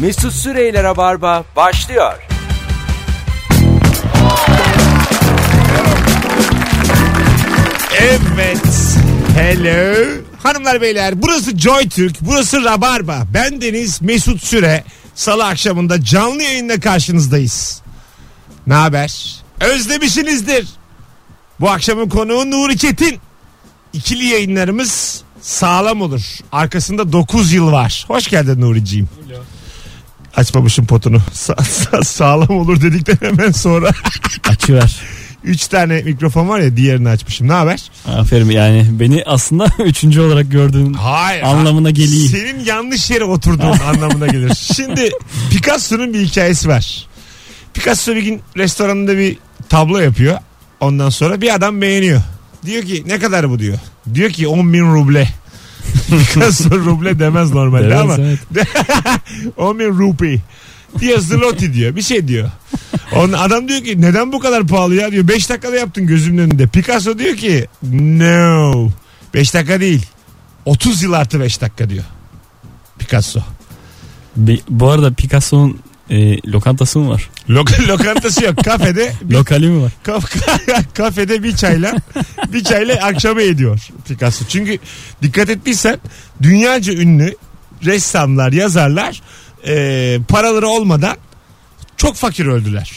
Mesut Süreyler'e barba başlıyor. Evet. Hello. Hanımlar beyler burası Joy Türk, burası Rabarba. Ben Deniz Mesut Süre. Salı akşamında canlı yayında karşınızdayız. Ne haber? Özlemişsinizdir. Bu akşamın konuğu Nuri Çetin. İkili yayınlarımız sağlam olur. Arkasında 9 yıl var. Hoş geldin Nuri'ciğim. Açmamışım potunu. Sa- sa- sağlam olur dedikten hemen sonra. Açıver. 3 tane mikrofon var ya diğerini açmışım. Ne haber? Aferin yani beni aslında üçüncü olarak gördüğün Hayır. anlamına geliyor. Senin yanlış yere oturduğun anlamına gelir. Şimdi Picasso'nun bir hikayesi var. Picasso bir gün restoranında bir tablo yapıyor. Ondan sonra bir adam beğeniyor. Diyor ki ne kadar bu diyor. Diyor ki 10 bin ruble. Picasso ruble demez normalde Demez, ama evet. 10 bin rupi. Diyor zloty diyor. Bir şey diyor. On, adam diyor ki neden bu kadar pahalı ya diyor. 5 dakikada yaptın gözümün önünde. Picasso diyor ki no. 5 dakika değil. 30 yıl artı 5 dakika diyor. Picasso. Bir- bu arada Picasso'nun e, lokantası mı var? Lok- lokantası yok. Kafede bir, Lokali mi var? kaf- kafede bir çayla bir çayla akşamı ediyor Picasso. Çünkü dikkat ettiysen dünyaca ünlü ressamlar, yazarlar e, paraları olmadan çok fakir öldüler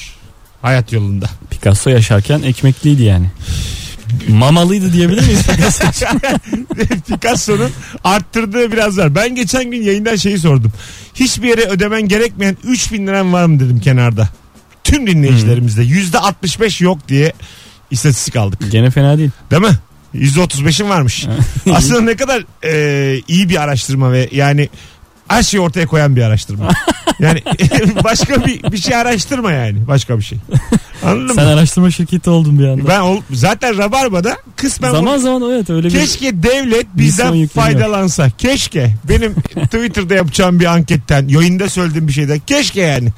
hayat yolunda. Picasso yaşarken ekmekliydi yani. Mamalıydı diyebilir miyiz Picasso? Picasso'nun arttırdığı biraz var. Ben geçen gün yayından şeyi sordum. Hiçbir yere ödemen gerekmeyen 3000 liran var mı dedim kenarda. Tüm dinleyicilerimizde yüzde %65 yok diye istatistik aldık. Gene fena değil. Değil mi? %35'in varmış. Aslında ne kadar e, iyi bir araştırma ve yani her şeyi ortaya koyan bir araştırma. Yani başka bir bir şey araştırma yani. Başka bir şey. Anladın Sen mı? araştırma şirketi oldun bir anda. Ben ol- zaten Rabarba'da kısmen zaman zaman evet öyle bir Keşke devlet Misyon bizden yükleniyor. faydalansa. Keşke. Benim Twitter'da yapacağım bir anketten, yayında söylediğim bir şeyden. Keşke yani.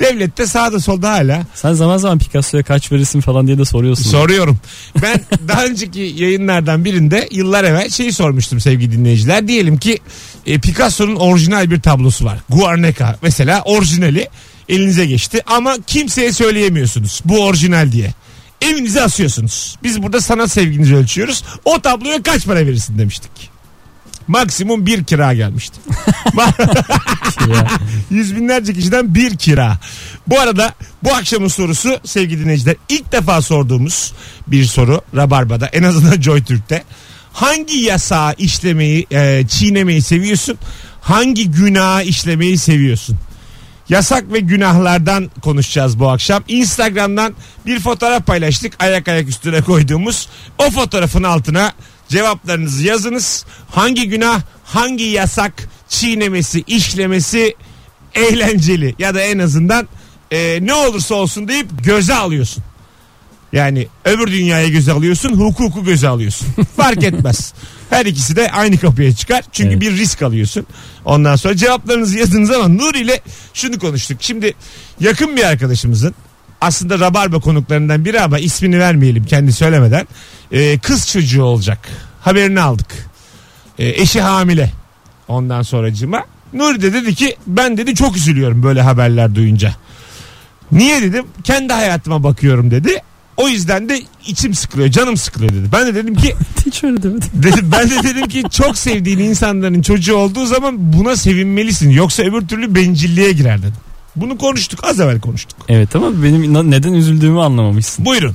Devlet de sağda solda hala. sen zaman zaman Picasso'ya kaç verirsin falan diye de soruyorsun. Soruyorum. Ben daha önceki yayınlardan birinde yıllar evvel şeyi sormuştum sevgili dinleyiciler. Diyelim ki e, Picasso'nun orijinal bir tablosu var. Guarneca mesela orijinali elinize geçti ama kimseye söyleyemiyorsunuz bu orijinal diye. Evinize asıyorsunuz. Biz burada sanat sevginizi ölçüyoruz. O tabloya kaç para verirsin demiştik. Maksimum bir kira gelmişti. Ya. Yüz binlerce kişiden bir kira. Bu arada bu akşamın sorusu sevgili dinleyiciler ilk defa sorduğumuz bir soru Rabarba'da en azından Joy Türk'te. Hangi yasağı işlemeyi e, çiğnemeyi seviyorsun? Hangi günahı işlemeyi seviyorsun? Yasak ve günahlardan konuşacağız bu akşam. Instagram'dan bir fotoğraf paylaştık. Ayak ayak üstüne koyduğumuz. O fotoğrafın altına cevaplarınızı yazınız. Hangi günah, hangi yasak çiğnemesi, işlemesi eğlenceli ya da en azından e, ne olursa olsun deyip göze alıyorsun. Yani öbür dünyaya göze alıyorsun, hukuku göze alıyorsun. Fark etmez. Her ikisi de aynı kapıya çıkar. Çünkü Evet. bir risk alıyorsun. Ondan sonra cevaplarınızı yazdığınız zaman Nur ile şunu konuştuk. Şimdi yakın bir arkadaşımızın aslında Rabarba konuklarından biri ama ismini vermeyelim kendi söylemeden. e, kız çocuğu olacak. Haberini aldık. E, eşi hamile. Ondan sonracığıma. Nuri de dedi ki ben dedi çok üzülüyorum böyle haberler duyunca. Niye dedim? Kendi hayatıma bakıyorum dedi. O yüzden de içim sıkılıyor, canım sıkılıyor dedi. Ben de dedim ki Hiç öyle demedim. dedim, ben de dedim ki çok sevdiğin insanların çocuğu olduğu zaman buna sevinmelisin. Yoksa öbür türlü bencilliğe girer dedim. Bunu konuştuk, az evvel konuştuk. Evet ama benim na- neden üzüldüğümü anlamamışsın. Buyurun.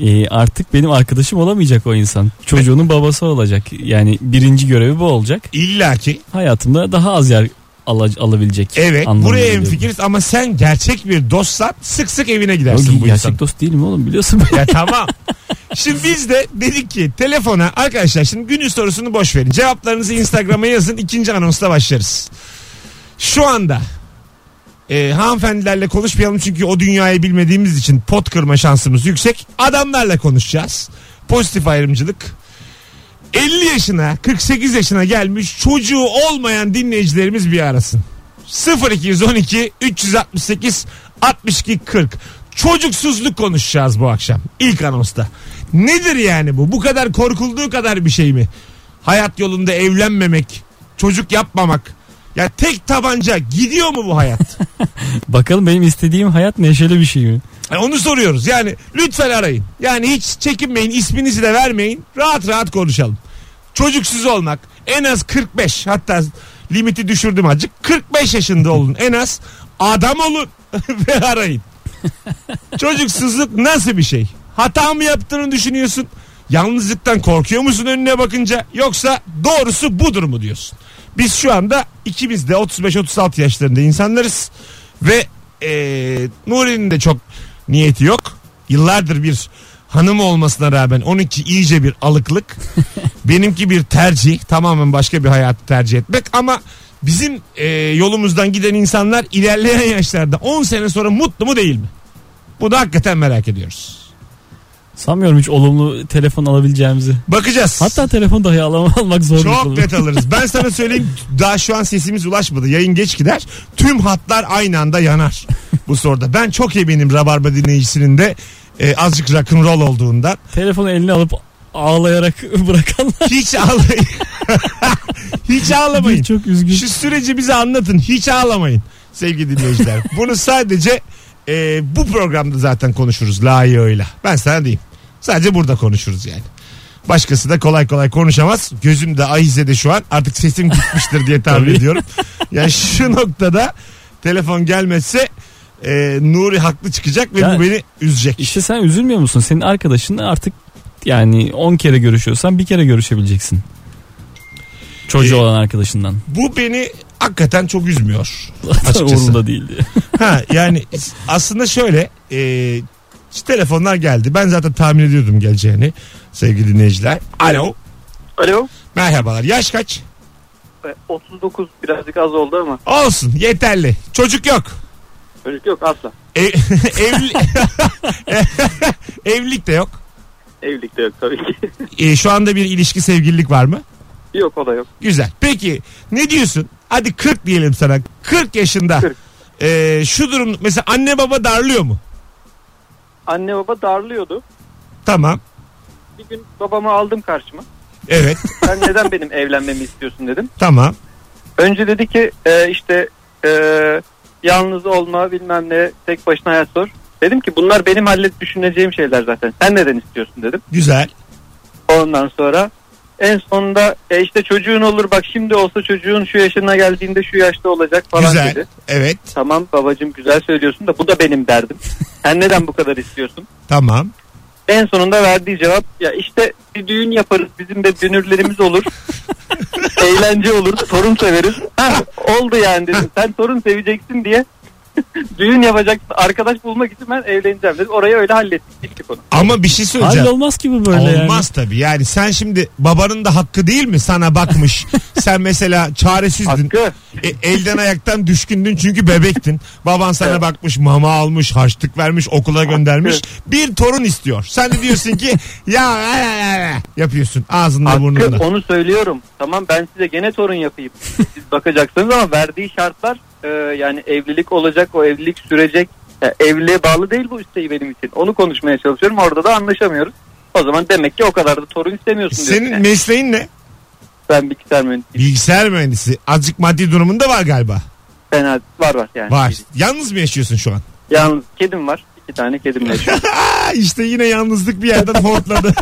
Ee, artık benim arkadaşım olamayacak o insan. Çocuğunun babası olacak. Yani birinci görevi bu olacak. İlla ki Hayatımda daha az yer ala- alabilecek. evet anlamına buraya geliyor bu. hemfikiriz ama sen gerçek bir dostsan sık sık evine Ya gidersin bu gerçek insan. dost değilim oğlum biliyorsun. beni. Ya tamam. Şimdi biz de dedik ki telefona arkadaşlar şimdi günün sorusunu boş verin. Cevaplarınızı Instagram'a yazın. ikinci anonsla başlarız. Şu anda e, hanımefendilerle konuşmayalım çünkü o dünyayı bilmediğimiz için pot kırma şansımız yüksek. Adamlarla konuşacağız. Pozitif ayrımcılık. 50 yaşına 48 yaşına gelmiş çocuğu olmayan dinleyicilerimiz bir arasın. 0212 368 62 40. Çocuksuzluk konuşacağız bu akşam ilk anonsta. Nedir yani bu? Bu kadar korkulduğu kadar bir şey mi? Hayat yolunda evlenmemek, çocuk yapmamak, Ya tek tabanca gidiyor mu bu hayat? Bakalım benim istediğim hayat neşeli bir şey mi? Yani E, onu soruyoruz. Yani lütfen arayın. Yani hiç çekinmeyin. isminizi de vermeyin. Rahat rahat konuşalım. Çocuksuz olmak en az 45 hatta limiti düşürdüm azıcık. 45 yaşında olun en az. Adam olun ve arayın. Çocuksuzluk nasıl bir şey? Hata mı yaptığını düşünüyorsun? Yalnızlıktan korkuyor musun önüne bakınca? Yoksa doğrusu budur mu diyorsun? Biz şu anda ikimiz de 35-36 yaşlarında insanlarız. Ve eee Nuri'nin de çok niyeti yok. Yıllardır bir hanım olmasına rağmen 12 iyice bir alıklık. Benimki bir tercih. Tamamen başka bir hayatı tercih etmek ama bizim eee, yolumuzdan giden insanlar ilerleyen yaşlarda 10 sene sonra mutlu mu değil mi? Bu da hakikaten merak ediyoruz. Sanmıyorum hiç olumlu telefon alabileceğimizi. Bakacağız. Hatta telefon dahi alam- almak zor. bir çok konu. net alırız. Ben sana söyleyeyim daha şu an sesimiz ulaşmadı. Yayın geç gider. Tüm hatlar aynı anda yanar bu soruda. Ben çok eminim Rabarba dinleyicisinin de e, azıcık rock'n'roll olduğundan. Telefonu eline alıp ağlayarak bırakanlar Hiç ağlayın. Hiç ağlamayın. çok üzgün. Şu süreci bize anlatın. Hiç ağlamayın sevgili dinleyiciler. Bunu sadece e, bu programda zaten konuşuruz layığıyla. Ben sana diyeyim. Sadece burada konuşuruz yani. Başkası da kolay kolay konuşamaz. Gözüm de ahizede şu an. Artık sesim gitmiştir diye tahmin Tabii. ediyorum. Yani şu noktada telefon gelmezse e, Nuri haklı çıkacak ve Ya- bu beni üzecek. İşte sen üzülmüyor musun? Senin arkadaşınla artık yani 10 kere görüşüyorsan bir kere görüşebileceksin. Çocuğu Ee, olan arkadaşından. Bu beni hakikaten çok üzmüyor. açıkçası. Umurunda değildi. Ha yani aslında şöyle e, işte telefonlar geldi. Ben zaten tahmin ediyordum geleceğini sevgili dinleyiciler. Alo. Alo. Merhabalar. Yaş kaç? E, 39 birazcık az oldu ama Olsun yeterli. Çocuk yok. çocuk yok asla. Ev, evli- evlilik de yok. Evlilik de yok tabii ki. E, şu anda bir ilişki sevgililik var mı? yok o da yok. Güzel. Peki ne diyorsun? Hadi 40 diyelim sana. 40 yaşında. 40. E, şu durum mesela anne baba darlıyor mu? Anne baba darlıyordu. Tamam. Bir gün babamı aldım karşıma. Evet. Sen neden benim evlenmemi istiyorsun dedim. tamam. Önce dedi ki e, işte e, yalnız olma bilmem ne tek başına hayat zor. Dedim ki bunlar benim hallet düşüneceğim şeyler zaten. Sen neden istiyorsun dedim. Güzel. Ondan sonra en sonunda e, işte çocuğun olur bak şimdi olsa çocuğun şu yaşına geldiğinde şu yaşta olacak falan Güzel. dedi. Evet. Tamam babacığım güzel söylüyorsun da bu da benim derdim. Sen neden bu kadar istiyorsun? Tamam. En sonunda verdiği cevap ya işte bir düğün yaparız bizim de dünürlerimiz olur. Eğlence olur torun severiz. Ha, oldu yani dedim sen torun seveceksin diye düğün yapacaksın arkadaş bulmak için ben evleneceğim dedim. Orayı öyle hallettik gittik onu. Ama bir şey söyleyeceğim. Halil olmaz ki bu böyle yani. Olmaz tabii. Yani sen şimdi babanın da hakkı değil mi sana bakmış. sen mesela çaresizdin. Hakkı. E, elden ayaktan düşkündün çünkü bebektin. Baban sana bakmış, mama almış, harçlık vermiş, okula göndermiş. Bir torun istiyor. Sen de diyorsun ki ya, ya, ya, ya yapıyorsun ağzında Hakkı burnunda. onu söylüyorum. Tamam ben size gene torun yapayım. Siz bakacaksınız ama verdiği şartlar e, yani evlilik olacak o evlilik sürecek. Ya, evliliğe bağlı değil bu isteği benim için. Onu konuşmaya çalışıyorum orada da anlaşamıyoruz. O zaman demek ki o kadar da torun istemiyorsun diyorsun. Senin Yani mesleğin ne? Ben bilgisayar mühendisiyim. Bilgisayar mühendisi. Azıcık maddi durumunda var galiba. Fena var var yani. Var. Yalnız mı yaşıyorsun şu an? Yalnız kedim var. İki tane kedim yaşıyor. Aa, işte yine yalnızlık bir yerden hortladı.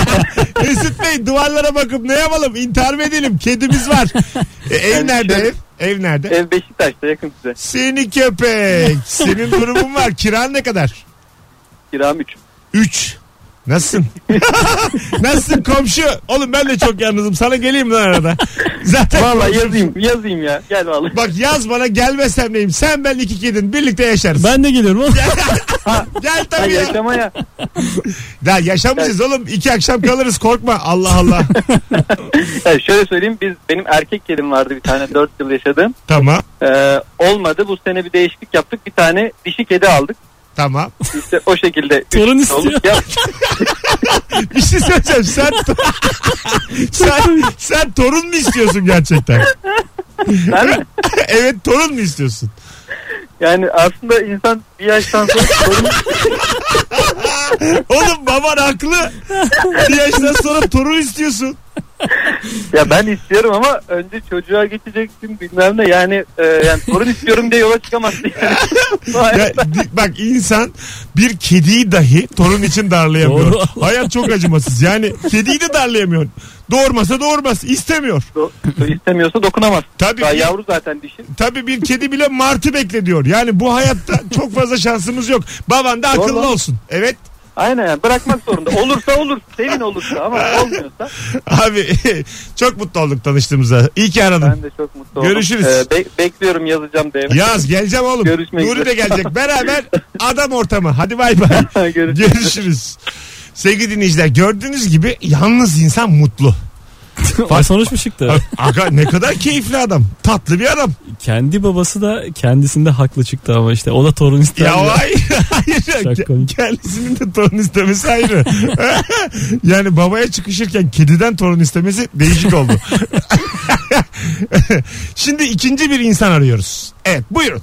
Mesut Bey duvarlara bakıp ne yapalım? İntihar mı edelim? Kedimiz var. E, ev Yani nerede şöyle- ev? Ev nerede? Ev Beşiktaş'ta yakın size. Seni köpek. Senin durumun var. Kiran ne kadar? Kiram 3. Üç. Nasılsın? Nasılsın komşu? Oğlum ben de çok yalnızım. Sana geleyim lan arada. Zaten Vallahi yazayım yazayım ya. Gel vallahi. Bak yaz bana gelmesem neyim? Sen ben iki kedin birlikte yaşarız. Ben de geliyorum ama Gel Ha, tabii ya. yaşamaya. Ya yaşamayacağız oğlum. İki akşam kalırız korkma. Allah Allah. Ya şöyle söyleyeyim biz benim erkek kedim vardı bir tane 4 yıl yaşadığım. tamam. Ee, olmadı. Bu sene bir değişiklik yaptık. Bir tane dişi kedi aldık. Tamam. İşte o şekilde. Torun üç olduk. istiyor. Ya, Bir şey söyleyeceğim. Sen, sen, sen torun mu istiyorsun gerçekten? ben mi? evet torun mu istiyorsun? Yani aslında insan bir yaştan sonra torun Oğlum baban haklı. Bir yaştan sonra torun istiyorsun. Ya ben istiyorum ama önce çocuğa geçeceksin bilmem ne yani e, yani sorun istiyorum diye yola çıkamazsın yani. Ya, di- bak insan bir kediyi dahi torun için darlayamıyor. Doğru. Hayat çok acımasız. Yani kediyi de darlayamıyor. Doğurmasa doğurmaz. istemiyor. Do- istemiyorsa dokunamaz. Tabii Daha ki. yavru zaten dişi. Tabii bir kedi bile martı bekle diyor. Yani bu hayatta çok fazla şansımız yok. Baban da akıllı Doğru. olsun. Evet. Aynen yani bırakmak zorunda. Olursa olur. Senin olursa ama olmuyorsa Abi çok mutlu olduk tanıştığımıza. İyi ki aradın. ben de çok mutlu oldum. Görüşürüz. E, be- bekliyorum yazacağım DM. Yaz geleceğim oğlum. Görüşmek Nuri üzere. de gelecek. Beraber adam ortamı. Hadi bay bay. Görüşürüz. Görüşürüz. Sevgili dinleyiciler gördüğünüz gibi yalnız insan mutlu. Ay sonuç mu çıktı? Aga ne kadar keyifli adam. Tatlı bir adam. Kendi babası da kendisinde haklı çıktı ama işte o da torun ister. Ya vay. Hayır. Çok komik. Kendisinin de torun istemesi ayrı. yani babaya çıkışırken kediden torun istemesi değişik oldu. Şimdi ikinci bir insan arıyoruz. Evet buyurun.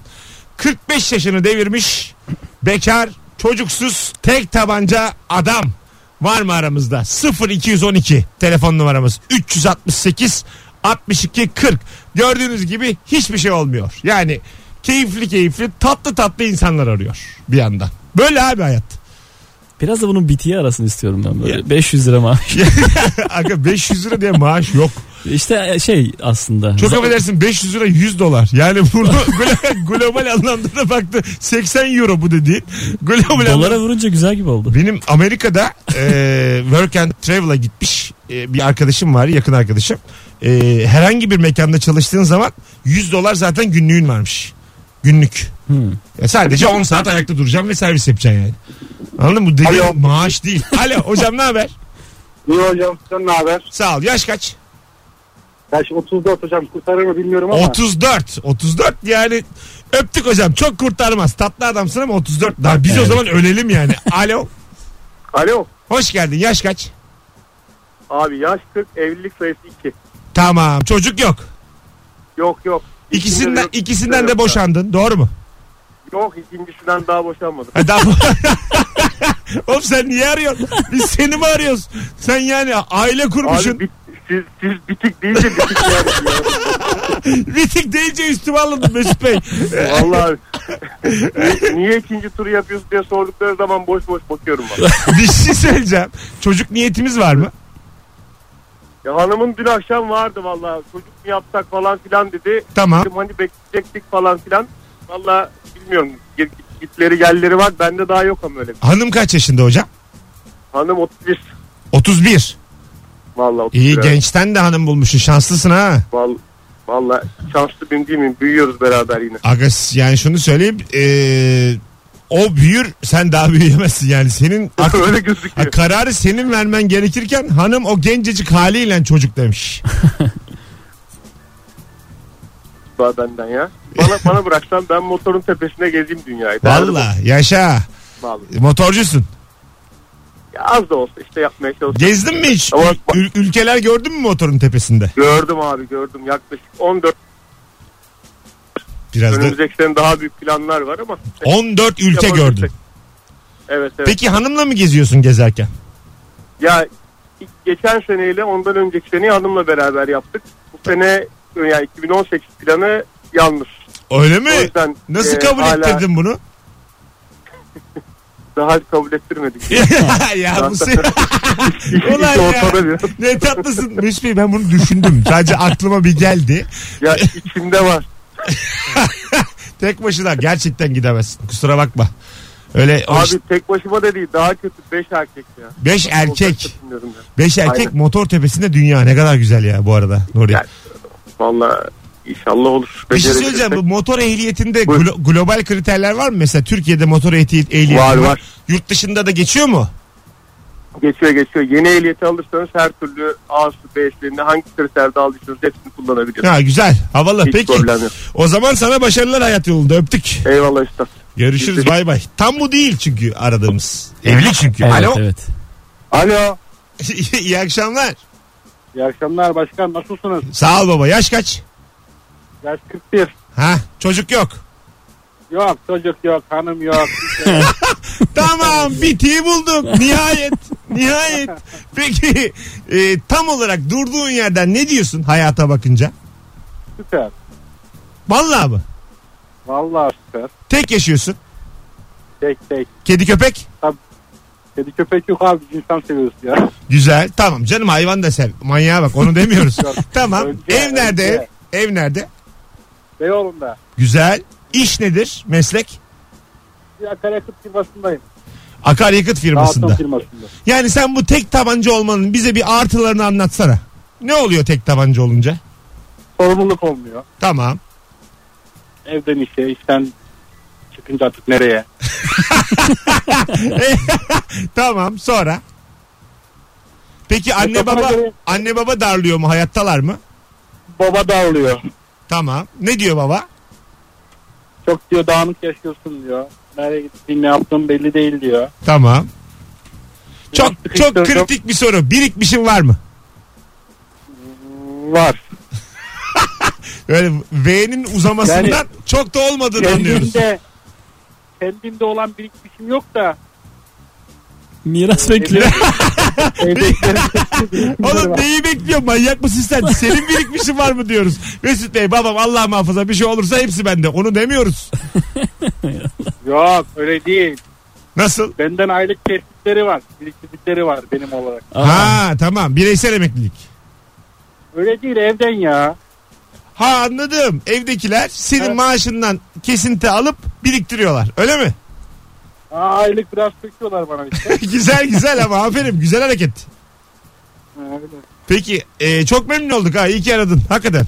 45 yaşını devirmiş, bekar, çocuksuz, tek tabanca adam. Var mı aramızda? 0212 telefon numaramız 368 62 40. Gördüğünüz gibi hiçbir şey olmuyor. Yani keyifli keyifli tatlı tatlı insanlar arıyor bir yandan. Böyle abi hayat. Biraz da bunun bitiye arasını istiyorum ben böyle. Ya. 500 lira maaş. Aga 500 lira diye maaş yok. işte şey aslında. Çok Za- affedersin 500 lira 100 dolar. Yani bunu glo- global anlamda da baktı 80 euro bu dediğin. Global anlamda- Dolara vurunca güzel gibi oldu. Benim Amerika'da e, work and travel'a gitmiş e, bir arkadaşım var yakın arkadaşım. E, herhangi bir mekanda çalıştığın zaman 100 dolar zaten günlüğün varmış. Günlük. Hmm. Ya sadece 10 saat ayakta duracağım ve servis yapacaksın yani. Anladın mı? Bu dediğin Alo. maaş değil. Alo hocam ne haber? İyi hocam sizden ne haber? Sağ ol. Yaş kaç? Yaş 34 hocam kurtarır mı bilmiyorum ama. 34. 34 yani öptük hocam. Çok kurtarmaz. Tatlı adamsın ama 34. Daha biz o Evet. zaman ölelim yani. Alo. Alo Hoş geldin. Yaş kaç? abi yaş 40 evlilik sayısı 2. Tamam. Çocuk yok. Yok yok. İkisinde de İkisinden yok, ikisinden ikisinde de yok ya. boşandın. Doğru mu? Yok ikincisinden daha boşanmadım. Ha, Daha... Oğlum sen niye arıyorsun? Biz seni mi arıyoruz? Sen yani aile kurmuşsun. Abi bit, siz, siz bitik deyince bitik yani. Bitik deyince üstüme alındın Mesut Bey. Vallahi abi. Ni- Niye ikinci turu yapıyorsun diye sordukları zaman boş boş bakıyorum bana. Bir şey söyleyeceğim. Çocuk niyetimiz var mı? Ya hanımın dün akşam vardı vallahi. Çocuk mu yapsak falan filan dedi. Tamam. Dedim hani bekleyecektik falan filan. Vallahi bilmiyorum. Git- Gitleri gelleri var. Bende daha yok ama öyle. Hanım kaç yaşında hocam? Hanım 31. 31. Vallahi 31. İyi evet. gençten de hanım bulmuşsun. Şanslısın ha. Val, valla şanslı bin değil miyim? Büyüyoruz beraber yine. Agas yani şunu söyleyeyim. Ee, o büyür sen daha büyüyemezsin yani. Senin artık Öyle Ha, gözüküyor. kararı senin vermen gerekirken hanım o gencecik haliyle çocuk demiş. Daha benden ya. Bana, bana bıraksan ben motorun tepesine gezeyim dünyayı. Derdim Valla yaşa. o, vallahi. Motorcusun. Ya az da olsa işte yapmaya çalışıyorum. Gezdin mi hiç? Ama- Ül- ülkeler gördün mü motorun tepesinde? Gördüm abi gördüm. Yaklaşık 14 Biraz da önümüzdeki sene daha büyük planlar var ama. 14 ülke Yapabilirsek. gördün. Evet evet. Peki hanımla mı geziyorsun gezerken? Ya ilk- geçen seneyle ondan önceki seneyi hanımla beraber yaptık. Bu sene yani 2018 planı yanlış. Öyle O mi? yüzden Nasıl e, kabul hala ettirdin bunu? Daha kabul ettirmedik. ya bu se- İşi- Ulan işi ya. ortada bir. ne tatlısın. Mesut Bey ben bunu düşündüm. Sadece aklıma bir geldi. Ya içimde var. Tek başına gerçekten gidemezsin. Kusura bakma. Öyle o işte Abi tek başıma da değil daha kötü 5 erkek ya. beş erkek. Olacak bilmiyorum ya. Beş erkek Aynen. motor tepesinde dünya. Ne kadar güzel ya bu arada Nuri. şey Yani, Valla inşallah olur. Bir şey Becerirsek. söyleyeceğim. Bu motor ehliyetinde Buyur. glo- global kriterler var mı? Mesela Türkiye'de motor ehli- ehliyeti Var var. Yurt dışında da geçiyor mu? Geçiyor geçiyor. Yeni ehliyeti alırsanız her türlü A'sı B'slerini hangi kriterde aldıysanız hepsini kullanabiliyorsunuz. Ha güzel. Havalı. Hiç Peki. problem yok. O zaman sana başarılar hayat yolunda. Öptük. Eyvallah üstad. Görüşürüz. Bitti. Bay bay. Tam bu değil çünkü aradığımız. Evli çünkü. Evet, Alo. evet. Alo. İyi akşamlar. İyi akşamlar başkan nasılsınız? Sağ ol baba. Yaş kaç? Yaş 41. Ha? Çocuk yok. Yok çocuk yok hanım yok. Tamam bitiyi buldum. Nihayet. Nihayet. Peki e, tam olarak durduğun yerden ne diyorsun hayata bakınca? Süper. Vallahi mı? Vallahi süper. Tek yaşıyorsun. Tek tek. Kedi köpek. Kedi köpek yok abi biz insan seviyoruz ya. Güzel. Tamam canım hayvan da sev. Manyağa bak onu demiyoruz. tamam. Önce- ev nerede? önce. Ev? Ev nerede? Beyoğlu'nda. Güzel. İş nedir? Meslek? Bir akaryakıt firmasındayım. Akaryakıt Dağıtım firmasında. firmasında. Yani sen bu tek tabanca olmanın bize bir artılarını anlatsana. Ne oluyor tek tabanca olunca? Sorumluluk olmuyor. Tamam. Evden işe, işten çıkınca artık nereye? Tamam sonra. Peki anne kafana baba göre- anne baba darlıyor mu? Hayattalar mı? Baba dağılıyor. Tamam. Ne diyor baba? Çok diyor dağınık yaşıyorsun diyor. Nereye gittiğin ne yaptığın belli değil diyor. Tamam. Çok Biraz çok sıkıştırdım. kritik bir soru. Birikmişin var mı? Var. Öyle V'nin uzamasından Yani- çok da olmadığını anlıyoruz. Kendimde, kendimde olan birikmişim yok da. Miras bekliyor. Evdekilerin Oğlum neyi bekliyorsun manyak mısın sen? Senin birikmişin var mı diyoruz. Mesut Bey babam Allah muhafaza bir şey olursa hepsi bende. Onu demiyoruz. Yok öyle değil. Nasıl? Benden aylık tespitleri var. Biriktirdikleri var benim olarak. Aa, Ha tamam bireysel emeklilik. Öyle değil evden ya. Ha anladım. Evdekiler senin Evet. maaşından kesinti alıp biriktiriyorlar. Öyle mi? Aa, aylık biraz söküyorlar bana işte. güzel güzel ama aferin. Güzel hareket. Ha, öyle. Peki e, çok memnun olduk ha. İyi ki aradın. Hakikaten.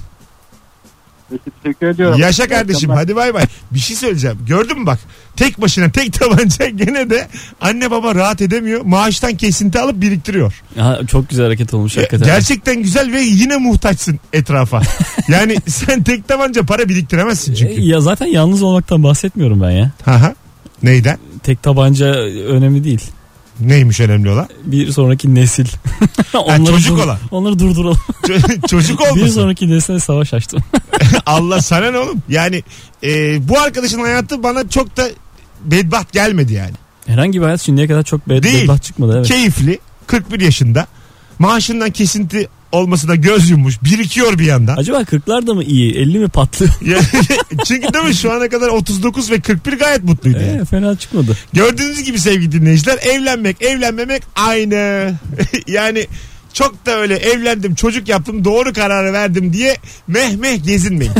Teşekkür ediyorum. Yaşa kardeşim hadi bay bay. Bir şey söyleyeceğim. Gördün mü bak? Tek başına tek tabanca gene de anne baba rahat edemiyor. Maaştan kesinti alıp biriktiriyor. E, Ha, çok güzel hareket olmuş hakikaten. Gerçekten güzel ve yine muhtaçsın etrafa. yani sen tek tabanca para biriktiremezsin E, çünkü. Ya zaten yalnız olmaktan bahsetmiyorum ben ya. Ha ha. Neyden? Tek tabanca önemli değil. Neymiş önemli olan? Bir sonraki nesil. çocuk dur- olan. Onları durduralım. Ço- Çocuk Bir olmasın. sonraki nesile savaş açtım. Allah sana ne oğlum? Yani e, bu arkadaşın hayatı bana çok da bedbaht gelmedi yani. Herhangi bir hayat şimdiye kadar çok bed- Değil. bedbaht çıkmadı. Evet. Keyifli. 41 yaşında. Maaşından kesinti olmasına göz yummuş. Birikiyor bir yandan. Acaba 40'lar da mı iyi? 50 mi patlıyor? Yani Çünkü değil mi şu ana kadar 39 ve 41 gayet mutluydu. yani. Ee, fena çıkmadı. Gördüğünüz gibi sevgili dinleyiciler evlenmek evlenmemek aynı. yani çok da öyle evlendim çocuk yaptım doğru kararı verdim diye meh meh gezinmeyin.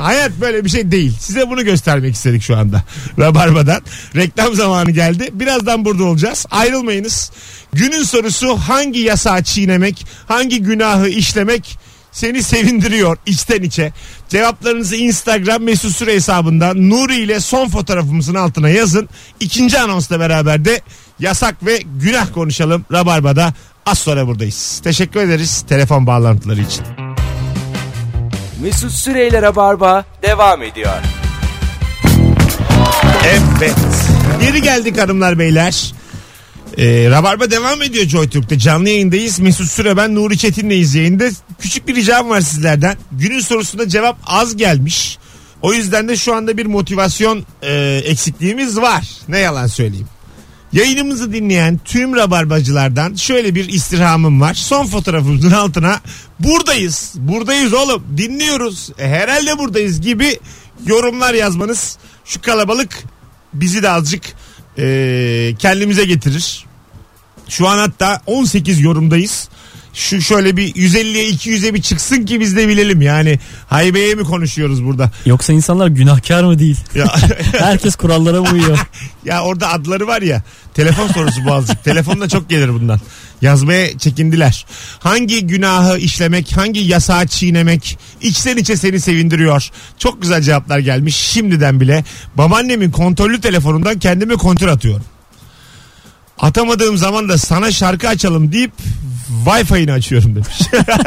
Hayat böyle bir şey değil. Size bunu göstermek istedik şu anda. Rabarba'dan. Reklam zamanı geldi. Birazdan burada olacağız. Ayrılmayınız. Günün sorusu hangi yasağı çiğnemek, hangi günahı işlemek seni sevindiriyor içten içe. Cevaplarınızı Instagram mesut süre hesabından Nuri ile son fotoğrafımızın altına yazın. İkinci anonsla beraber de yasak ve günah konuşalım Rabarba'da. Az sonra buradayız. Teşekkür ederiz telefon bağlantıları için. Mesut Süreyler'e barba devam ediyor. Evet. Geri geldik hanımlar beyler. Ee, Rabarba devam ediyor JoyTürk'te. Canlı yayındayız. Mesut Süre ben Nuri Çetin'leyiz yayında. Küçük bir ricam var sizlerden. Günün sorusunda cevap az gelmiş. O yüzden de şu anda bir motivasyon e, eksikliğimiz var. Ne yalan söyleyeyim. Yayınımızı dinleyen tüm rabarbacılardan şöyle bir istirhamım var. Son fotoğrafımızın altına buradayız, buradayız oğlum, dinliyoruz, e, herhalde buradayız gibi yorumlar yazmanız şu kalabalık bizi de azıcık e, kendimize getirir. Şu an hatta 18 yorumdayız. Şu şöyle bir 150'ye 200'e bir çıksın ki biz de bilelim yani haybeye mi konuşuyoruz burada? Yoksa insanlar günahkar mı değil? Ya, Herkes kurallara mı uyuyor? Ya orada adları var ya. Telefon sorusu bu azıcık. Telefonda çok gelir bundan. Yazmaya çekindiler. Hangi günahı işlemek, hangi yasağı çiğnemek içten içe seni sevindiriyor. Çok güzel cevaplar gelmiş şimdiden bile. Babaannemin kontrollü telefonundan kendime kontrol atıyorum. Atamadığım zaman da sana şarkı açalım deyip Wi-Fi'ni açıyorum demiş.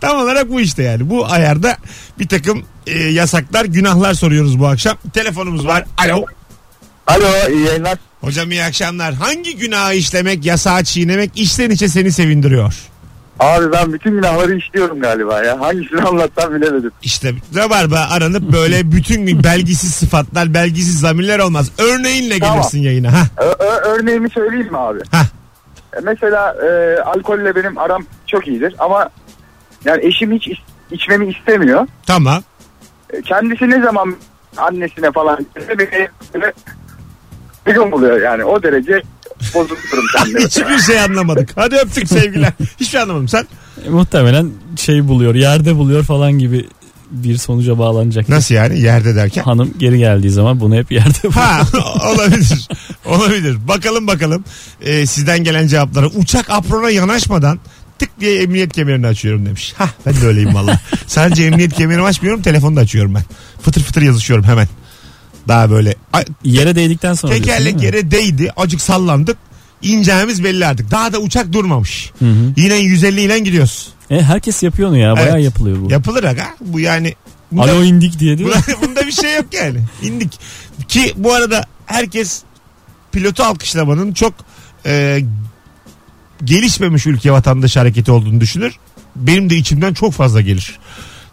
Tam olarak bu işte yani. Bu ayarda bir takım e, yasaklar, günahlar soruyoruz bu akşam. Telefonumuz var. Alo. Alo iyi yayınlar. Hocam iyi akşamlar. Hangi günahı işlemek, yasağı çiğnemek içten içe seni sevindiriyor? Abi ben bütün günahları işliyorum galiba ya. Hangisini anlatsam bilemedim. İşte rabarba aranıp böyle bütün gün belgisiz sıfatlar, belgisiz zamirler olmaz. Örneğinle Tamam. gelirsin yayına. Ha. Ö- ö- örneğimi söyleyeyim mi abi? Hah. E, Mesela e, alkolle benim aram çok iyidir ama yani eşim hiç is- içmemi istemiyor. Tamam. E, Kendisi ne zaman annesine falan beni böyle bir gün buluyor yani o derece bozulurum kendimi. Hiçbir şey anlamadık. Hadi öptük sevgiler. Hiçbir şey anlamadım. Sen E, muhtemelen şey buluyor, yerde buluyor falan gibi bir sonuca bağlanacak. nasıl yani yerde derken? Hanım geri geldiği zaman bunu hep yerde buluyor. Ha olabilir. Olabilir. Bakalım bakalım e, sizden gelen cevaplara. Uçak aprona yanaşmadan tık diye emniyet kemerini açıyorum demiş. Ha ben de öyleyim valla. Sadece emniyet kemerini açmıyorum telefonu da açıyorum ben. Fıtır fıtır yazışıyorum hemen. Daha böyle Ay, Yere değdikten sonra diyorsun, tekerlek değil mi? yere değdi acık sallandık. İneceğimiz belli artık. Daha da uçak durmamış. Hı hı. Yine 150 ile gidiyoruz. E, herkes yapıyor onu ya. Bayağı Evet. yapılıyor bu. Yapılır aga. Bu yani bu da- Alo indik diye değil mi? Buna- Bunda bir şey yok yani. İndik. Ki bu arada herkes pilotu alkışlamanın çok e, gelişmemiş ülke vatandaşı hareketi olduğunu düşünür. Benim de içimden çok fazla gelir.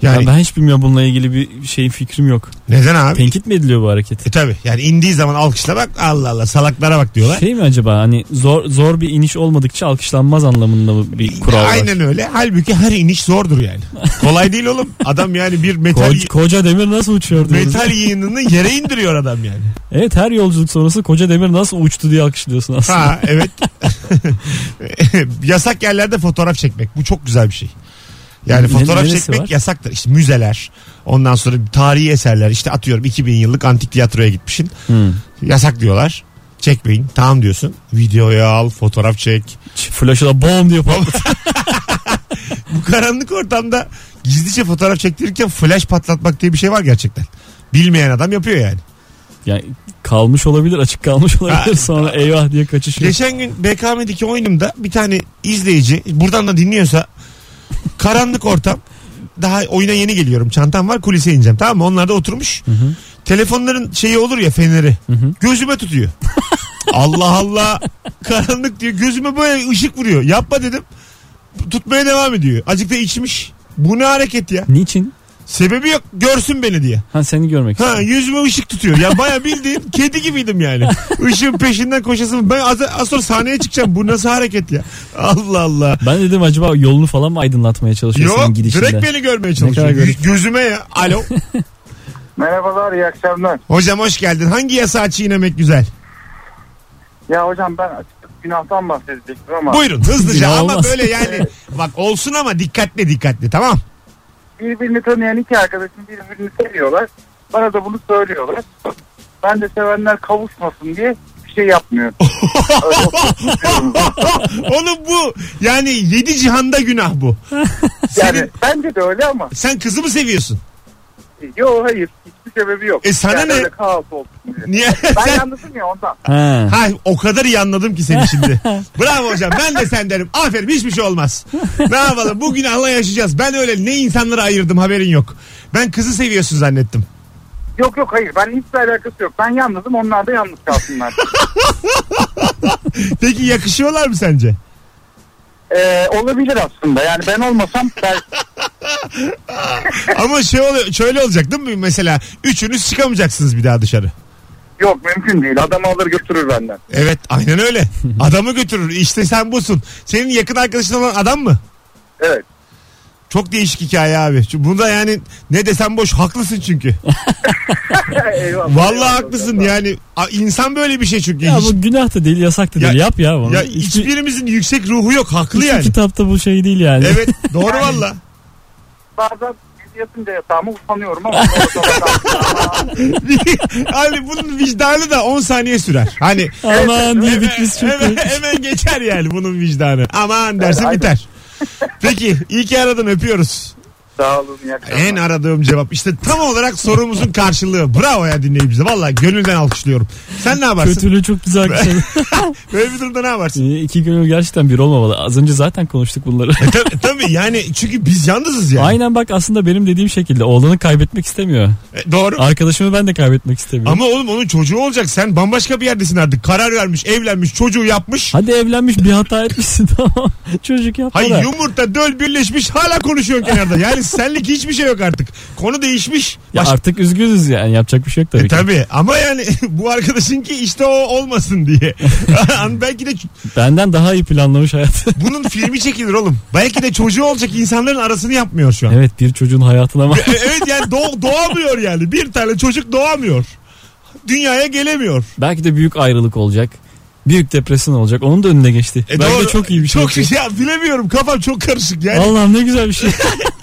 Yani Ya ben hiç bilmiyorum bununla ilgili bir şeyin fikrim yok. neden abi? Tenkit mi ediliyor bu hareket? E tabi yani indiği zaman alkışlamak Allah Allah salaklara bak diyorlar. Şey mi acaba hani zor zor bir iniş olmadıkça alkışlanmaz anlamında mı bir kural var? Aynen öyle. Halbuki her iniş zordur yani. Kolay değil oğlum. Adam yani bir metal Koca, koca demir nasıl uçuyor diyoruz. metal yığınını yere indiriyor adam yani. Evet her yolculuk sonrası koca demir nasıl uçtu diye alkışlıyorsun aslında. Ha evet. yasak yerlerde fotoğraf çekmek. Bu çok güzel bir şey. Yani Ne- fotoğraf neresi çekmek var? yasaktır. İşte müzeler, ondan sonra tarihi eserler. İşte atıyorum 2000 yıllık antik tiyatroya gitmişsin. Hmm. Yasak diyorlar. Çekmeyin. Tamam diyorsun. Videoya al, fotoğraf çek. Ç- Flaşı da bom diye patladı. Bu karanlık ortamda gizlice fotoğraf çektirirken flash patlatmak diye bir şey var gerçekten. Bilmeyen adam yapıyor yani. yani kalmış olabilir açık kalmış olabilir Ha. sonra eyvah diye kaçışıyor. Geçen gün BKM'deki oyunumda bir tane izleyici buradan da dinliyorsa karanlık ortam daha oyuna yeni geliyorum çantam var kulise ineceğim tamam mı onlar da oturmuş hı. telefonların şeyi olur ya feneri hı. gözüme tutuyor Allah Allah karanlık diyor gözüme böyle ışık vuruyor yapma dedim tutmaya devam ediyor azıcık da içmiş bu ne hareket ya Niçin? sebebi yok görsün beni diye Ha seni görmek Ha istiyorum. yüzüme ışık tutuyor. Ya baya bildiğin kedi gibiydim yani. Işığın peşinden koşasın. Ben az, az sonra sahneye çıkacağım. Bu nasıl hareket ya? Allah Allah. Ben dedim acaba yolunu falan mı aydınlatmaya çalışıyor Yok senin gidişinde? direkt beni görmeye çalışıyor. Ne kadar garip. Gözüme ya. Alo. Merhabalar iyi akşamlar. Hocam hoş geldin. Hangi yasağı çiğnemek güzel? Ya hocam ben açıkçası günahtan bahsedecektim ama Buyurun hızlıca Ya ama olmaz. böyle yani. Bak olsun ama dikkatli dikkatli tamam. birbirini tanıyan iki arkadaşım birbirini seviyorlar. Bana da bunu söylüyorlar. Ben de sevenler kavuşmasın diye bir şey yapmıyorum. Oğlum bu yani yedi cihanda günah bu. Yani Senin, bence de öyle ama sen kızı mı seviyorsun? yo hayır hiçbir sebebi yok. E sana yani ne? öyle kaos olsun diye. Niye? Ben sen yalnızım ya ondan. Ha. Ha o kadar iyi anladım ki seni şimdi. Bravo hocam ben de sen derim. Aferin hiçbir şey olmaz. Ne yapalım bu günahla yaşayacağız. Ben öyle ne insanları ayırdım haberin yok. Ben kızı seviyorsun zannettim. Yok yok hayır ben hiçbir alakası yok. Ben yalnızım onlar da yalnız kalsınlar. Peki yakışıyorlar mı sence? Ee, olabilir aslında yani ben olmasam belki Ama şey oluyor, şöyle olacak değil mi? Mesela üçünüz çıkamayacaksınız bir daha dışarı. yok mümkün değil. Adamı alır götürür benden. Evet aynen öyle. Adamı götürür. İşte sen busun. Senin yakın arkadaşın olan adam mı? Evet. Çok değişik hikaye abi. Çünkü Bunda yani ne desem boş. Haklısın çünkü. Eyvallah. Vallahi haklısın yani. a- insan böyle bir şey çünkü. Ya Hiç- bu günah da değil yasak da değil Ya- yap ya bunu. Ya Hiçbir- hiçbirimizin yüksek ruhu yok haklı hiçbir yani. kitapta bu şey değil yani. Evet doğru valla. Bazen gece yatınca yatağıma utanıyorum ama. hani bunun vicdanı da 10 saniye sürer. Hani Aman diye bitmiş çok. hemen, hemen geçer yani bunun vicdanı. Aman dersin aynen. biter. Peki iyi ki aradın öpüyoruz. Sağ olun. iyi akşamlar. En aradığım cevap. İşte tam olarak sorumuzun karşılığı. Bravo ya dinleyicimize. Valla gönülden alkışlıyorum. Sen ne yaparsın? Kötülüğü çok güzel akışladı. Böyle bir durumda ne yaparsın? İki Ee, gönül gerçekten bir olmamalı. Az önce zaten konuştuk bunları. E, Tabii, tabii yani çünkü biz yalnızız yani. Aynen bak aslında benim dediğim şekilde oğlanı kaybetmek istemiyor. E, doğru. Arkadaşımı ben de kaybetmek istemiyorum. Ama oğlum onun çocuğu olacak. Sen bambaşka bir yerdesin artık. Karar vermiş, evlenmiş, çocuğu yapmış. Hadi evlenmiş bir hata etmişsin tamam. Çocuk yapma Hayır da. yumurta döl birleşmiş hala konuşuyorsun kenarda. Yani senlik hiçbir şey yok artık. Konu değişmiş. Ya Baş- artık üzgünüz yani yapacak bir şey yok tabii E, ki. tabii ama yani bu arkadaşın ki işte o olmasın diye. An- Belki de ç- Benden daha iyi planlamış hayatı. bunun filmi çekilir oğlum. Belki de çocuğu olacak insanların arasını yapmıyor şu an. evet bir çocuğun hayatına ama E, evet yani doğ- doğamıyor yani. Bir tane çocuk doğamıyor. Dünyaya gelemiyor. belki de büyük ayrılık olacak. Büyük depresyon olacak. Onun da önüne geçti. E, belki doğru. de çok iyi bir şey. Çok olacak. ya bilemiyorum kafam çok karışık yani. Allah'ım ne güzel bir şey.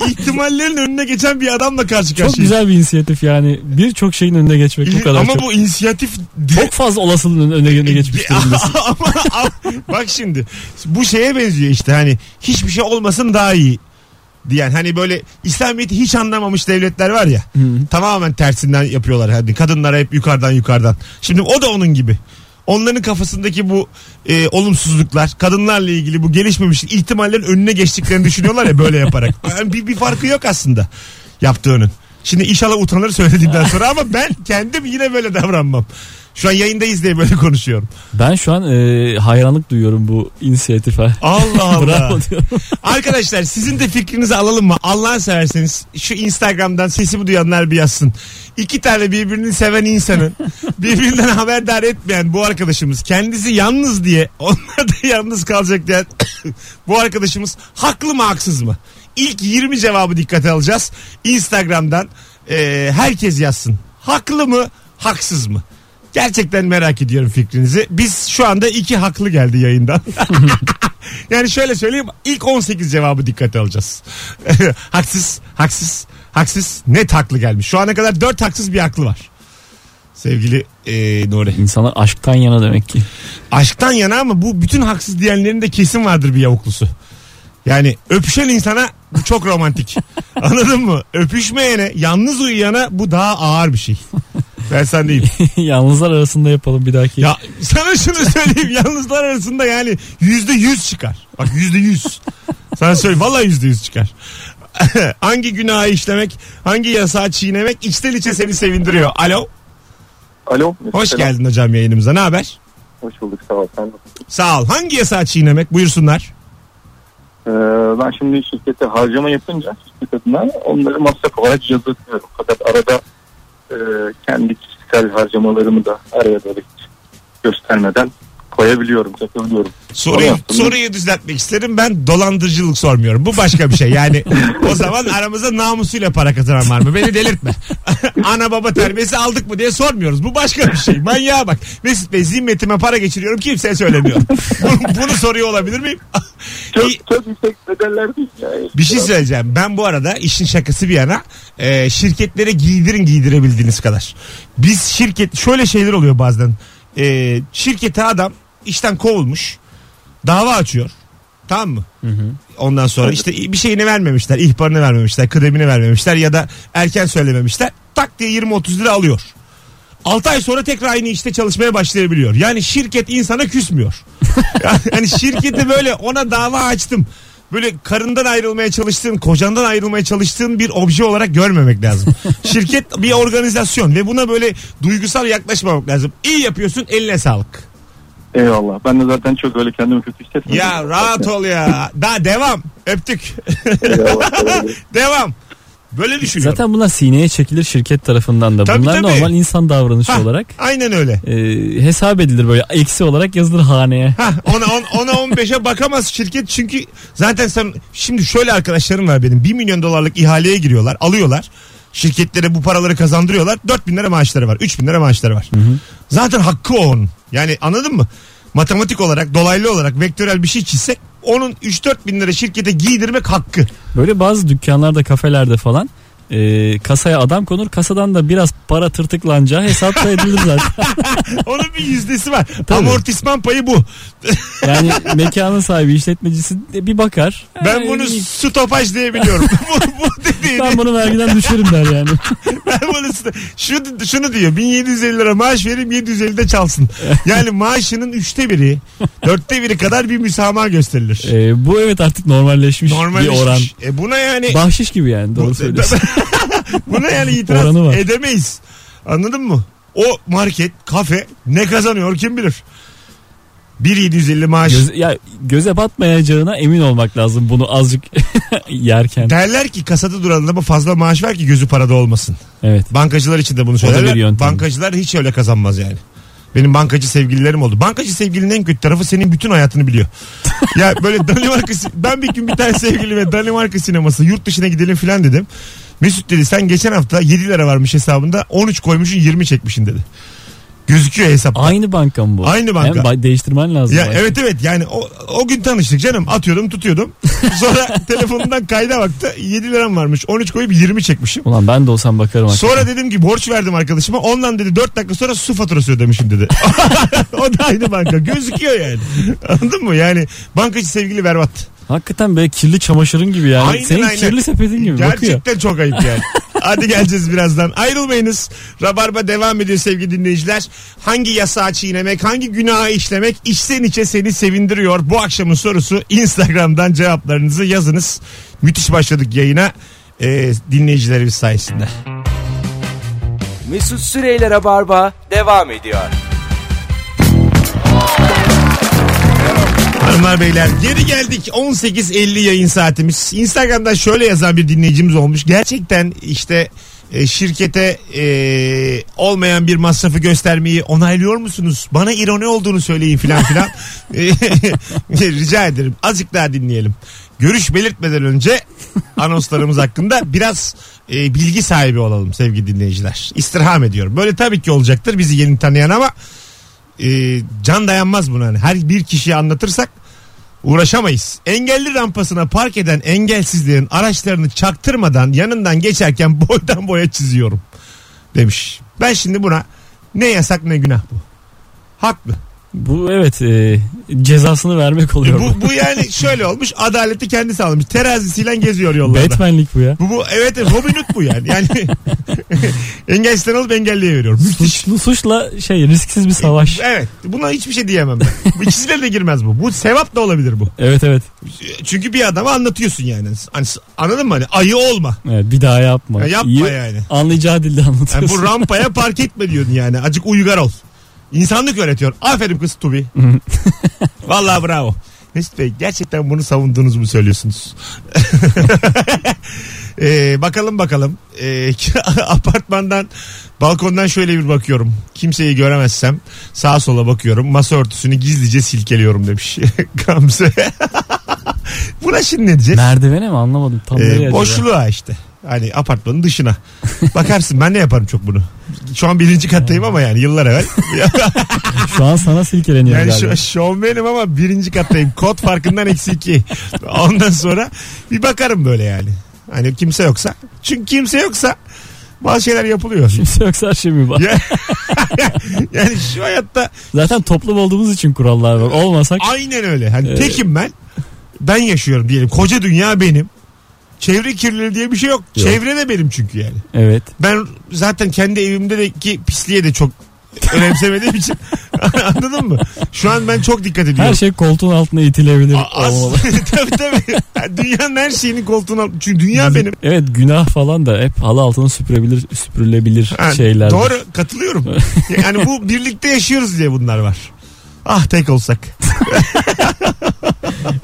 ihtimallerin önüne geçen bir adamla karşı karşıyayız. çok güzel bir inisiyatif yani. Birçok şeyin önüne geçmek bu kadar Ama çok. bu inisiyatif Çok fazla olasılığın önüne, önüne geçmiş durumdasın. ama, ama- bak şimdi bu şeye benziyor işte hani hiçbir şey olmasın daha iyi diyen hani böyle İslamiyet'i hiç anlamamış devletler var ya tamamen tersinden yapıyorlar hani kadınlara hep yukarıdan yukarıdan şimdi o da onun gibi onların kafasındaki bu e, olumsuzluklar kadınlarla ilgili bu gelişmemişlik ihtimallerin önüne geçtiklerini düşünüyorlar ya böyle yaparak Yani bir, bir farkı yok aslında yaptığının şimdi inşallah utanır söylediğimden sonra ama ben kendim yine böyle davranmam şu an yayındayız diye böyle konuşuyorum Ben şu an e, hayranlık duyuyorum bu inisiyatife. Allah Allah. Bravo diyorum. Arkadaşlar sizin de fikrinizi alalım mı? Allah'ını severseniz şu Instagram'dan sesimi duyanlar bir yazsın. İki tane birbirini seven insanın birbirinden haberdar etmeyen bu arkadaşımız kendisi yalnız diye onlar da yalnız kalacak diye bu arkadaşımız haklı mı haksız mı? İlk 20 cevabı dikkate alacağız. Instagram'dan e, herkes yazsın. Haklı mı haksız mı? Gerçekten merak ediyorum fikrinizi. Biz şu anda iki haklı geldi yayından. Yani şöyle söyleyeyim ilk 18 cevabı dikkate alacağız. haksız, haksız, haksız net haklı gelmiş. Şu ana kadar 4 haksız bir haklı var. Sevgili eee Nuri. İnsanlar aşktan yana demek ki. Aşktan yana ama bu bütün haksız diyenlerin de kesin vardır bir yavuklusu. Yani öpüşen insana bu çok romantik. Anladın mı? Öpüşmeyene, yalnız uyuyana bu daha ağır bir şey. Ben sen değil. Yalnızlar arasında yapalım bir dahaki. Ya sana şunu söyleyeyim yalnızlar arasında yani yüzde yüz çıkar. Bak yüzde yüz. Sana söyleyeyim valla yüzde yüz çıkar. hangi günahı işlemek, hangi yasağı çiğnemek içten içe seni sevindiriyor. Alo, Alo. hoş Selam. geldin hocam yayınımıza. Ne haber? Hoş bulduk sağ ol. Sen nasılsın? Sağ ol. Hangi yasağı çiğnemek? Buyursunlar. Ee, ben şimdi şirkete harcama yapınca şirket adına onları masraf olarak yazıyorum. Fakat arada e, kendi kişisel harcamalarımı da araya böyle hiç göstermeden koyabiliyorum, takabiliyorum. Onu Soruyu, yaptım. soruyu düzeltmek isterim. Ben dolandırıcılık sormuyorum. Bu başka bir şey. Yani o zaman aramıza namusuyla para kazanan var mı? Beni delirtme. Ana baba terbiyesi aldık mı diye sormuyoruz. Bu başka bir şey. Manyağa bak. Mesut Bey zimmetime para geçiriyorum. Kimseye söylemiyorum. bunu, bunu soruyor olabilir miyim? İyi, Çok, çok yüksek bedeller değil. ya. bir şey söyleyeceğim. Ben bu arada işin şakası bir yana e, şirketlere giydirin giydirebildiğiniz kadar. Biz şirket şöyle şeyler oluyor bazen. E, şirkete adam işten kovulmuş. Dava açıyor. Tamam mı? Ondan sonra işte bir şeyini vermemişler. ihbarını vermemişler. Kıdemini vermemişler. Ya da erken söylememişler. Tak diye 20-30 lira alıyor. 6 ay sonra tekrar aynı işte çalışmaya başlayabiliyor. Yani şirket insana küsmüyor. yani hani şirketi böyle ona dava açtım. Böyle karından ayrılmaya çalıştığın, kocandan ayrılmaya çalıştığın bir obje olarak görmemek lazım. Şirket bir organizasyon ve buna böyle duygusal yaklaşmamak lazım. İyi yapıyorsun eline sağlık. Eyvallah. Ben de zaten çok öyle kendimi kötü hissetmiyorum. Ya rahat ol ya. Daha devam. Öptük. Eyvallah, kolay gelsin. devam. Böyle düşünüyorum. Zaten bunlar sineye çekilir şirket tarafından da. Tabii, Bunlar tabii. normal insan davranışı Hah, olarak Aynen öyle. e, hesap edilir böyle eksi olarak yazılır haneye. Hah, ona, on, ona 15'e bakamaz şirket çünkü zaten sen şimdi şöyle arkadaşlarım var benim 1 milyon dolarlık ihaleye giriyorlar alıyorlar şirketlere bu paraları kazandırıyorlar 4 bin lira maaşları var 3 bin lira maaşları var zaten hakkı o onun yani anladın mı matematik olarak dolaylı olarak vektörel bir şey çizsek onun 3-4 bin lira şirkete giydirmek hakkı Böyle bazı dükkanlarda kafelerde falan e, kasaya adam konur. Kasadan da biraz para tırtıklanacağı hesapta edilir zaten. Onun bir yüzdesi var. Tabii. Amortisman payı bu. Yani mekanın sahibi işletmecisi de bir bakar. Ben Ee, bunu iyi. stopaj diye biliyorum. bu, bu dediğini ben bunu vergiden düşerim der yani. Ben bunu size- şunu, şunu diyor 1750 lira maaş vereyim 750 de çalsın. Yani maaşının üçte biri dörtte biri kadar bir müsamaha gösterilir. Ee, bu evet artık normalleşmiş Normal bir oran. E buna yani Bahşiş gibi yani doğru Bu- söylüyorsun. buna yani itiraz Oranı var. edemeyiz. Anladın mı? O market, kafe ne kazanıyor kim bilir. 1750 maaş. Göz- ya göze batmayacağına emin olmak lazım bunu azıcık yerken. Derler ki kasada duran adama fazla maaş ver ki gözü parada olmasın. Evet. Bankacılar için de bunu da bir söylerler. yöntem. Bankacılar hiç öyle kazanmaz yani. Benim bankacı sevgililerim oldu. Bankacı sevgilinin en kötü tarafı senin bütün hayatını biliyor. ya böyle Danimarka ben bir gün bir tane sevgilime Danimarka sineması yurt dışına gidelim filan dedim. Mesut dedi sen geçen hafta 7 lira varmış hesabında 13 koymuşsun 20 çekmişsin dedi. Gözüküyor hesapta. Aynı banka mı bu? Aynı banka. Hem ba- değiştirmen lazım. Ya belki. evet evet yani o, o gün tanıştık canım. Atıyordum tutuyordum. Sonra telefonundan kayda baktı. 7 liram varmış. 13 koyup 20 çekmişim. Ulan ben de olsam bakarım. hakikaten. Sonra dedim ki borç verdim arkadaşıma. Ondan dedi 4 dakika sonra su faturası ödemişim dedi. o da aynı banka. Gözüküyor yani. Anladın mı? Yani bankacı sevgili berbat. Hakikaten böyle kirli çamaşırın gibi yani. Aynen, Senin aynen. kirli sepetin gibi bakıyor. Gerçekten çok ayıp yani. Hadi geleceğiz birazdan. Ayrılmayınız. Rabarba devam ediyor sevgili dinleyiciler. Hangi yasağı çiğnemek, hangi günahı işlemek içten içe seni sevindiriyor? Bu akşamın sorusu Instagram'dan cevaplarınızı yazınız. Müthiş başladık yayına. Ee, dinleyicilerimiz sayesinde. Mesut Süreyler'e barba devam ediyor. Hanımlar beyler geri geldik 18.50 yayın saatimiz. Instagram'dan şöyle yazan bir dinleyicimiz olmuş. Gerçekten işte e, şirkete e, olmayan bir masrafı göstermeyi onaylıyor musunuz? Bana ironi olduğunu söyleyin filan filan. E, Rica ederim azıcık daha dinleyelim. Görüş belirtmeden önce anonslarımız hakkında biraz e, bilgi sahibi olalım sevgili dinleyiciler. İstirham ediyorum. Böyle tabii ki olacaktır bizi yeni tanıyan ama e, can dayanmaz buna. Hani her bir kişiye anlatırsak uğraşamayız. Engelli rampasına park eden engelsizlerin araçlarını çaktırmadan yanından geçerken boydan boya çiziyorum demiş. Ben şimdi buna ne yasak ne günah bu. Haklı. E Bu evet e, cezasını vermek oluyor. Bu, bu yani şöyle olmuş adaleti kendisi almış. Terazisiyle geziyor bu. yollarda. Batman'lik bu ya. Bu, bu evet evet, Robin Hood bu yani. Yani engelsizden alıp engelliye veriyor. Müthiş. Suçlu suçla şey risksiz bir savaş. Evet. Buna hiçbir şey diyemem ben. Bu İkisine de girmez bu. Bu sevap da olabilir bu. Evet evet. Çünkü bir adama anlatıyorsun yani. Hani anladın mı? Hani ayı olma. Evet, E, bir daha yapma. Ya E, yapma İyi- yani. Anlayacağı dilde anlatıyorsun. Yani bu rampaya park etme diyordun yani. Acık uygar ol. İnsanlık öğretiyor. Aferin kız Tubi. Vallahi bravo. Mesut Bey gerçekten bunu savunduğunuzu mu söylüyorsunuz? Ee, bakalım bakalım. Ee, apartmandan balkondan şöyle bir bakıyorum. Kimseyi göremezsem sağa sola bakıyorum. Masa örtüsünü gizlice silkeliyorum demiş Gamze. Buna şimdi ne diyeceğiz? Merdivene mi anlamadım. Tam nereye Ee, acaba? boşluğa işte. Hani apartmanın dışına. Bakarsın ben de yaparım çok bunu. Şu an birinci kattayım ama yani yıllar evvel. Şu an sana silkeleniyor yani galiba. şu, şovmenim ama birinci kattayım. Kod farkından eksi iki. Ondan sonra bir bakarım böyle yani. Hani kimse yoksa. Çünkü kimse yoksa bazı şeyler yapılıyor. Kimse yoksa her şey mi var? Ya- yani şu hayatta Zaten toplum olduğumuz için kurallar var. Olmasak aynen öyle. Hani Ee, tekim ben. Ben yaşıyorum diyelim. Koca dünya benim. Çevre kirliliği diye bir şey yok. Yok. Çevre de benim çünkü yani. evet. ben zaten kendi evimde de ki pisliğe de çok önemsemediğim için anladın mı? Şu an ben çok dikkat ediyorum. Her şey koltuğun altına itilebilir. A- as- olmalı. tabii tabii. Dünyanın her şeyini koltuğuna al- Çünkü dünya benim. Evet günah falan da hep halı altına süpürebilir, süpürülebilir Ha, şeyler. Doğru katılıyorum. Yani bu birlikte yaşıyoruz diye bunlar var. Ah tek olsak.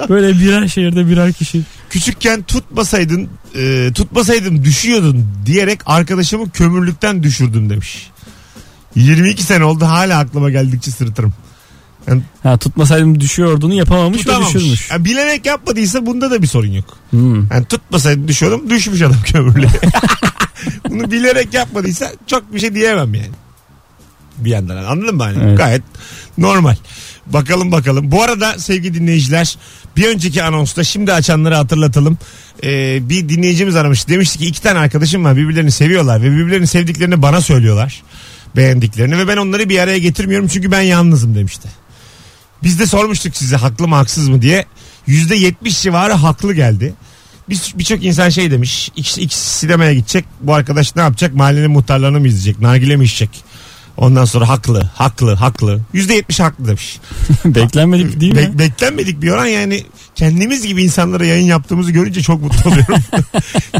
Böyle birer şehirde birer kişi. Küçükken tutmasaydın e, tutmasaydım düşüyordun diyerek arkadaşımı kömürlükten düşürdüm demiş. 22 sene oldu hala aklıma geldikçe sırıtırım. Ha tutmasaydım düşüyordunu yapamamış ve Tutamamış. düşürmüş. Yani bilerek yapmadıysa bunda da bir sorun yok. Hmm. Yani tutmasaydı düşüyordum düşmüş adam kömürlüğe. Bunu bilerek yapmadıysa çok bir şey diyemem yani. bir yandan. Anladın mı? Hani? Evet. Gayet normal. Bakalım bakalım. Bu arada sevgili dinleyiciler bir önceki anonsta şimdi açanları hatırlatalım. Ee, bir dinleyicimiz aramış. Demişti ki iki tane arkadaşım var birbirlerini seviyorlar ve birbirlerini sevdiklerini bana söylüyorlar. Beğendiklerini ve ben onları bir araya getirmiyorum çünkü ben yalnızım demişti. Biz de sormuştuk size haklı mı haksız mı diye. %70 civarı haklı geldi. Biz- Birçok insan şey demiş. Ikisi, ikisi sinemaya gidecek. Bu arkadaş ne yapacak? Mahallenin muhtarlarını mı izleyecek? Nargile mi içecek? Ondan sonra haklı, haklı, haklı. %70 haklı demiş. Beklenmedik değil mi? Bek- beklenmedik bir oran yani kendimiz gibi insanlara yayın yaptığımızı görünce çok mutlu oluyorum.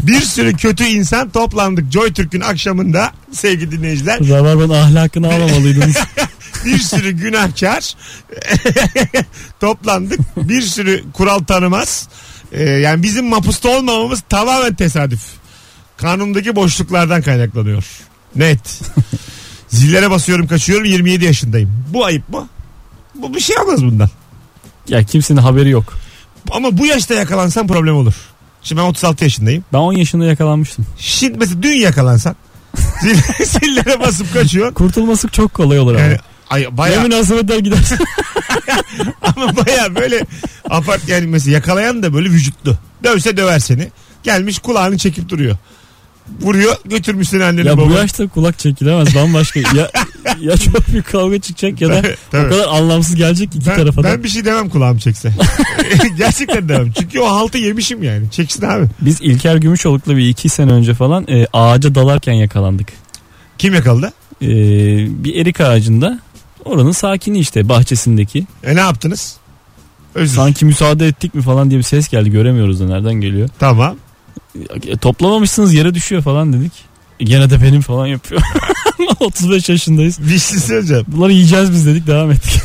bir sürü kötü insan toplandık Joy Türk'ün akşamında sevgili dinleyiciler. Rabarbanın ahlakını alamalıydınız. bir sürü günahkar toplandık. Bir sürü kural tanımaz. Ee, yani bizim mapusta olmamamız tamamen tesadüf. Kanundaki boşluklardan kaynaklanıyor. Net. Zillere basıyorum kaçıyorum 27 yaşındayım. Bu ayıp mı? Bu bir şey olmaz bundan. ya kimsenin haberi yok. Ama bu yaşta yakalansan problem olur. Şimdi ben 36 yaşındayım. Ben 10 yaşında yakalanmıştım. Şimdi mesela dün yakalansan zil- zillere basıp kaçıyor. Kurtulması çok kolay olur ama. Yani, ay, Ne bayağı münasebetler gidersin. Ama baya böyle apart yani mesela yakalayan da böyle vücutlu. Dövse döver seni. Gelmiş kulağını çekip duruyor. Vuruyor götürmüş seni annene ya bu babana. yaşta kulak çekilemez bambaşka. ya, ya çok büyük kavga çıkacak ya da Tabii. o kadar anlamsız gelecek ki iki ben, tarafa da. ben bir şey demem kulağım çekse. Gerçekten demem. Çünkü o haltı yemişim yani. Çeksin abi. Biz İlker Gümüşoluk'la bir iki sene önce falan e, ağaca dalarken yakalandık. Kim yakaladı? E, bir erik ağacında oranın sakini işte bahçesindeki. E ne yaptınız? Özür. Sanki müsaade ettik mi falan diye bir ses geldi göremiyoruz da nereden geliyor. Tamam. E, toplamamışsınız yere düşüyor falan dedik. E, Gene de benim falan yapıyor. 35 yaşındayız. Bir şey söyleyeceğim. Bunları yiyeceğiz biz dedik devam ettik.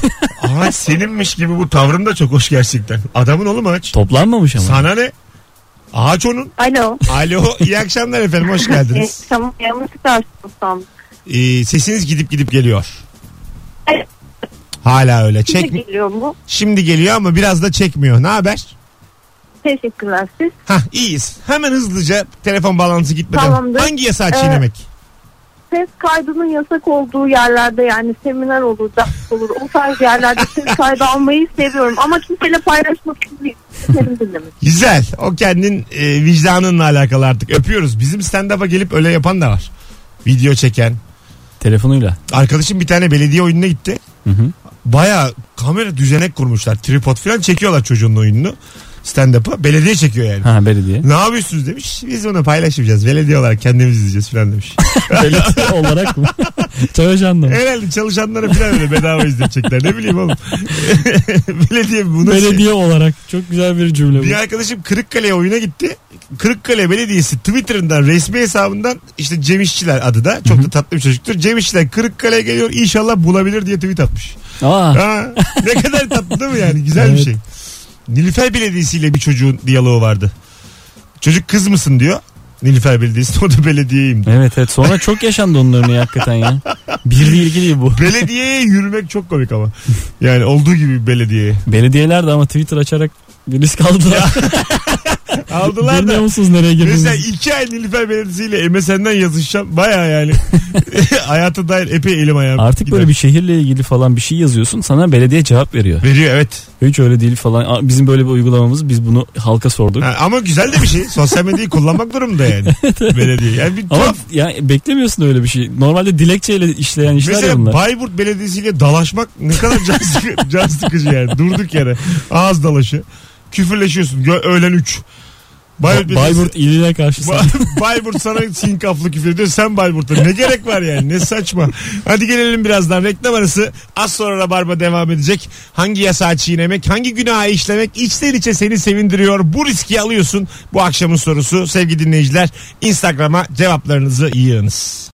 Ağaç seninmiş gibi bu tavrın da çok hoş gerçekten. Adamın oğlum ağaç. Toplanmamış ama. Sana ne? Ağaç onun. Alo. Alo iyi akşamlar efendim hoş E, geldiniz. tamam yanlışlıkla açtım sandım. Ee, sesiniz gidip gidip geliyor. Evet. Hala öyle. Size Çek geliyor mu? şimdi geliyor ama biraz da çekmiyor. Ne haber? Teşekkürler siz. Hah iyiyiz. Hemen hızlıca telefon bağlantısı gitmeden Tamamdır. hangi yasağı Ee, çiğnemek? Ses kaydının yasak olduğu yerlerde yani seminer olur, ders olur. O tarz yerlerde ses kaydı almayı seviyorum. Ama kimseyle paylaşmak istemiyorum. Kendim dinlemek. Güzel. O kendin e, vicdanınla alakalı artık. Öpüyoruz. Bizim stand-up'a gelip öyle yapan da var. Video çeken. Telefonuyla. Arkadaşım bir tane belediye oyununa gitti. Hı hı. Baya kamera düzenek kurmuşlar. Tripod falan çekiyorlar çocuğun oyununu. Stand-up'a. Belediye çekiyor yani. Ha belediye. Ne yapıyorsunuz demiş. Biz bunu paylaşmayacağız. Belediye olarak kendimiz izleyeceğiz falan demiş. belediye olarak mı? Çalışan da mı? Herhalde çalışanlara falan öyle bedava izletecekler. Ne bileyim oğlum. belediye bunu Belediye olarak. Çok güzel bir cümle bu. Bir arkadaşım Kırıkkale'ye oyuna gitti. Kırıkkale Belediyesi Twitter'ından resmi hesabından işte Cem İşçiler adı da çok da tatlı bir çocuktur. Cem İşçiler Kırıkkale'ye geliyor inşallah bulabilir diye tweet atmış. Aa, Ha, ne kadar tatlı değil mi yani güzel bir Evet. şey. Nilüfer Belediyesi ile bir çocuğun diyaloğu vardı. Çocuk kız mısın diyor. Nilüfer Belediyesi o da belediyeyim diyor. evet evet. Sonra çok yaşandı onun örneği hakikaten ya. Bir ilgi değil bu. Belediyeye yürümek çok komik ama. Yani olduğu gibi belediyeye. Belediyeler de ama Twitter açarak bir risk aldılar. Aldılar da. Bilmiyor musunuz nereye Mesela girdiğinizi? iki ay Nilüfer Belediyesi ile MSN'den yazışacağım. Baya yani hayata dair epey elim ayağım. Artık gider. böyle bir şehirle ilgili falan bir şey yazıyorsun sana belediye cevap veriyor. Veriyor evet. Hiç öyle değil falan. Aa, Bizim böyle bir uygulamamız biz bunu halka sorduk. Ha, ama güzel de bir şey. Sosyal medyayı kullanmak durumda yani. Belediye. Yani bir Ama tuhaf. ya beklemiyorsun öyle bir şey. Normalde dilekçeyle işleyen işler ya Mesela bunlar. Bayburt Belediyesi ile dalaşmak ne kadar can, sıkı- can sıkıcı yani. Durduk yere. Ağız dalaşı. Küfürleşiyorsun. Gö- öğlen 3. Ba- Bayburt iline karşı sen- Ba- Bayburt sana sinkaflı küfür ediyor. Sen Bayburt'ta. Ne gerek var yani? Ne saçma. Hadi gelelim birazdan. Reklam arası. Az sonra Rabarba devam edecek. Hangi yasağı çiğnemek, hangi günahı işlemek içten içe seni sevindiriyor. Bu riski alıyorsun. Bu akşamın sorusu sevgili dinleyiciler. Instagram'a cevaplarınızı yığınız.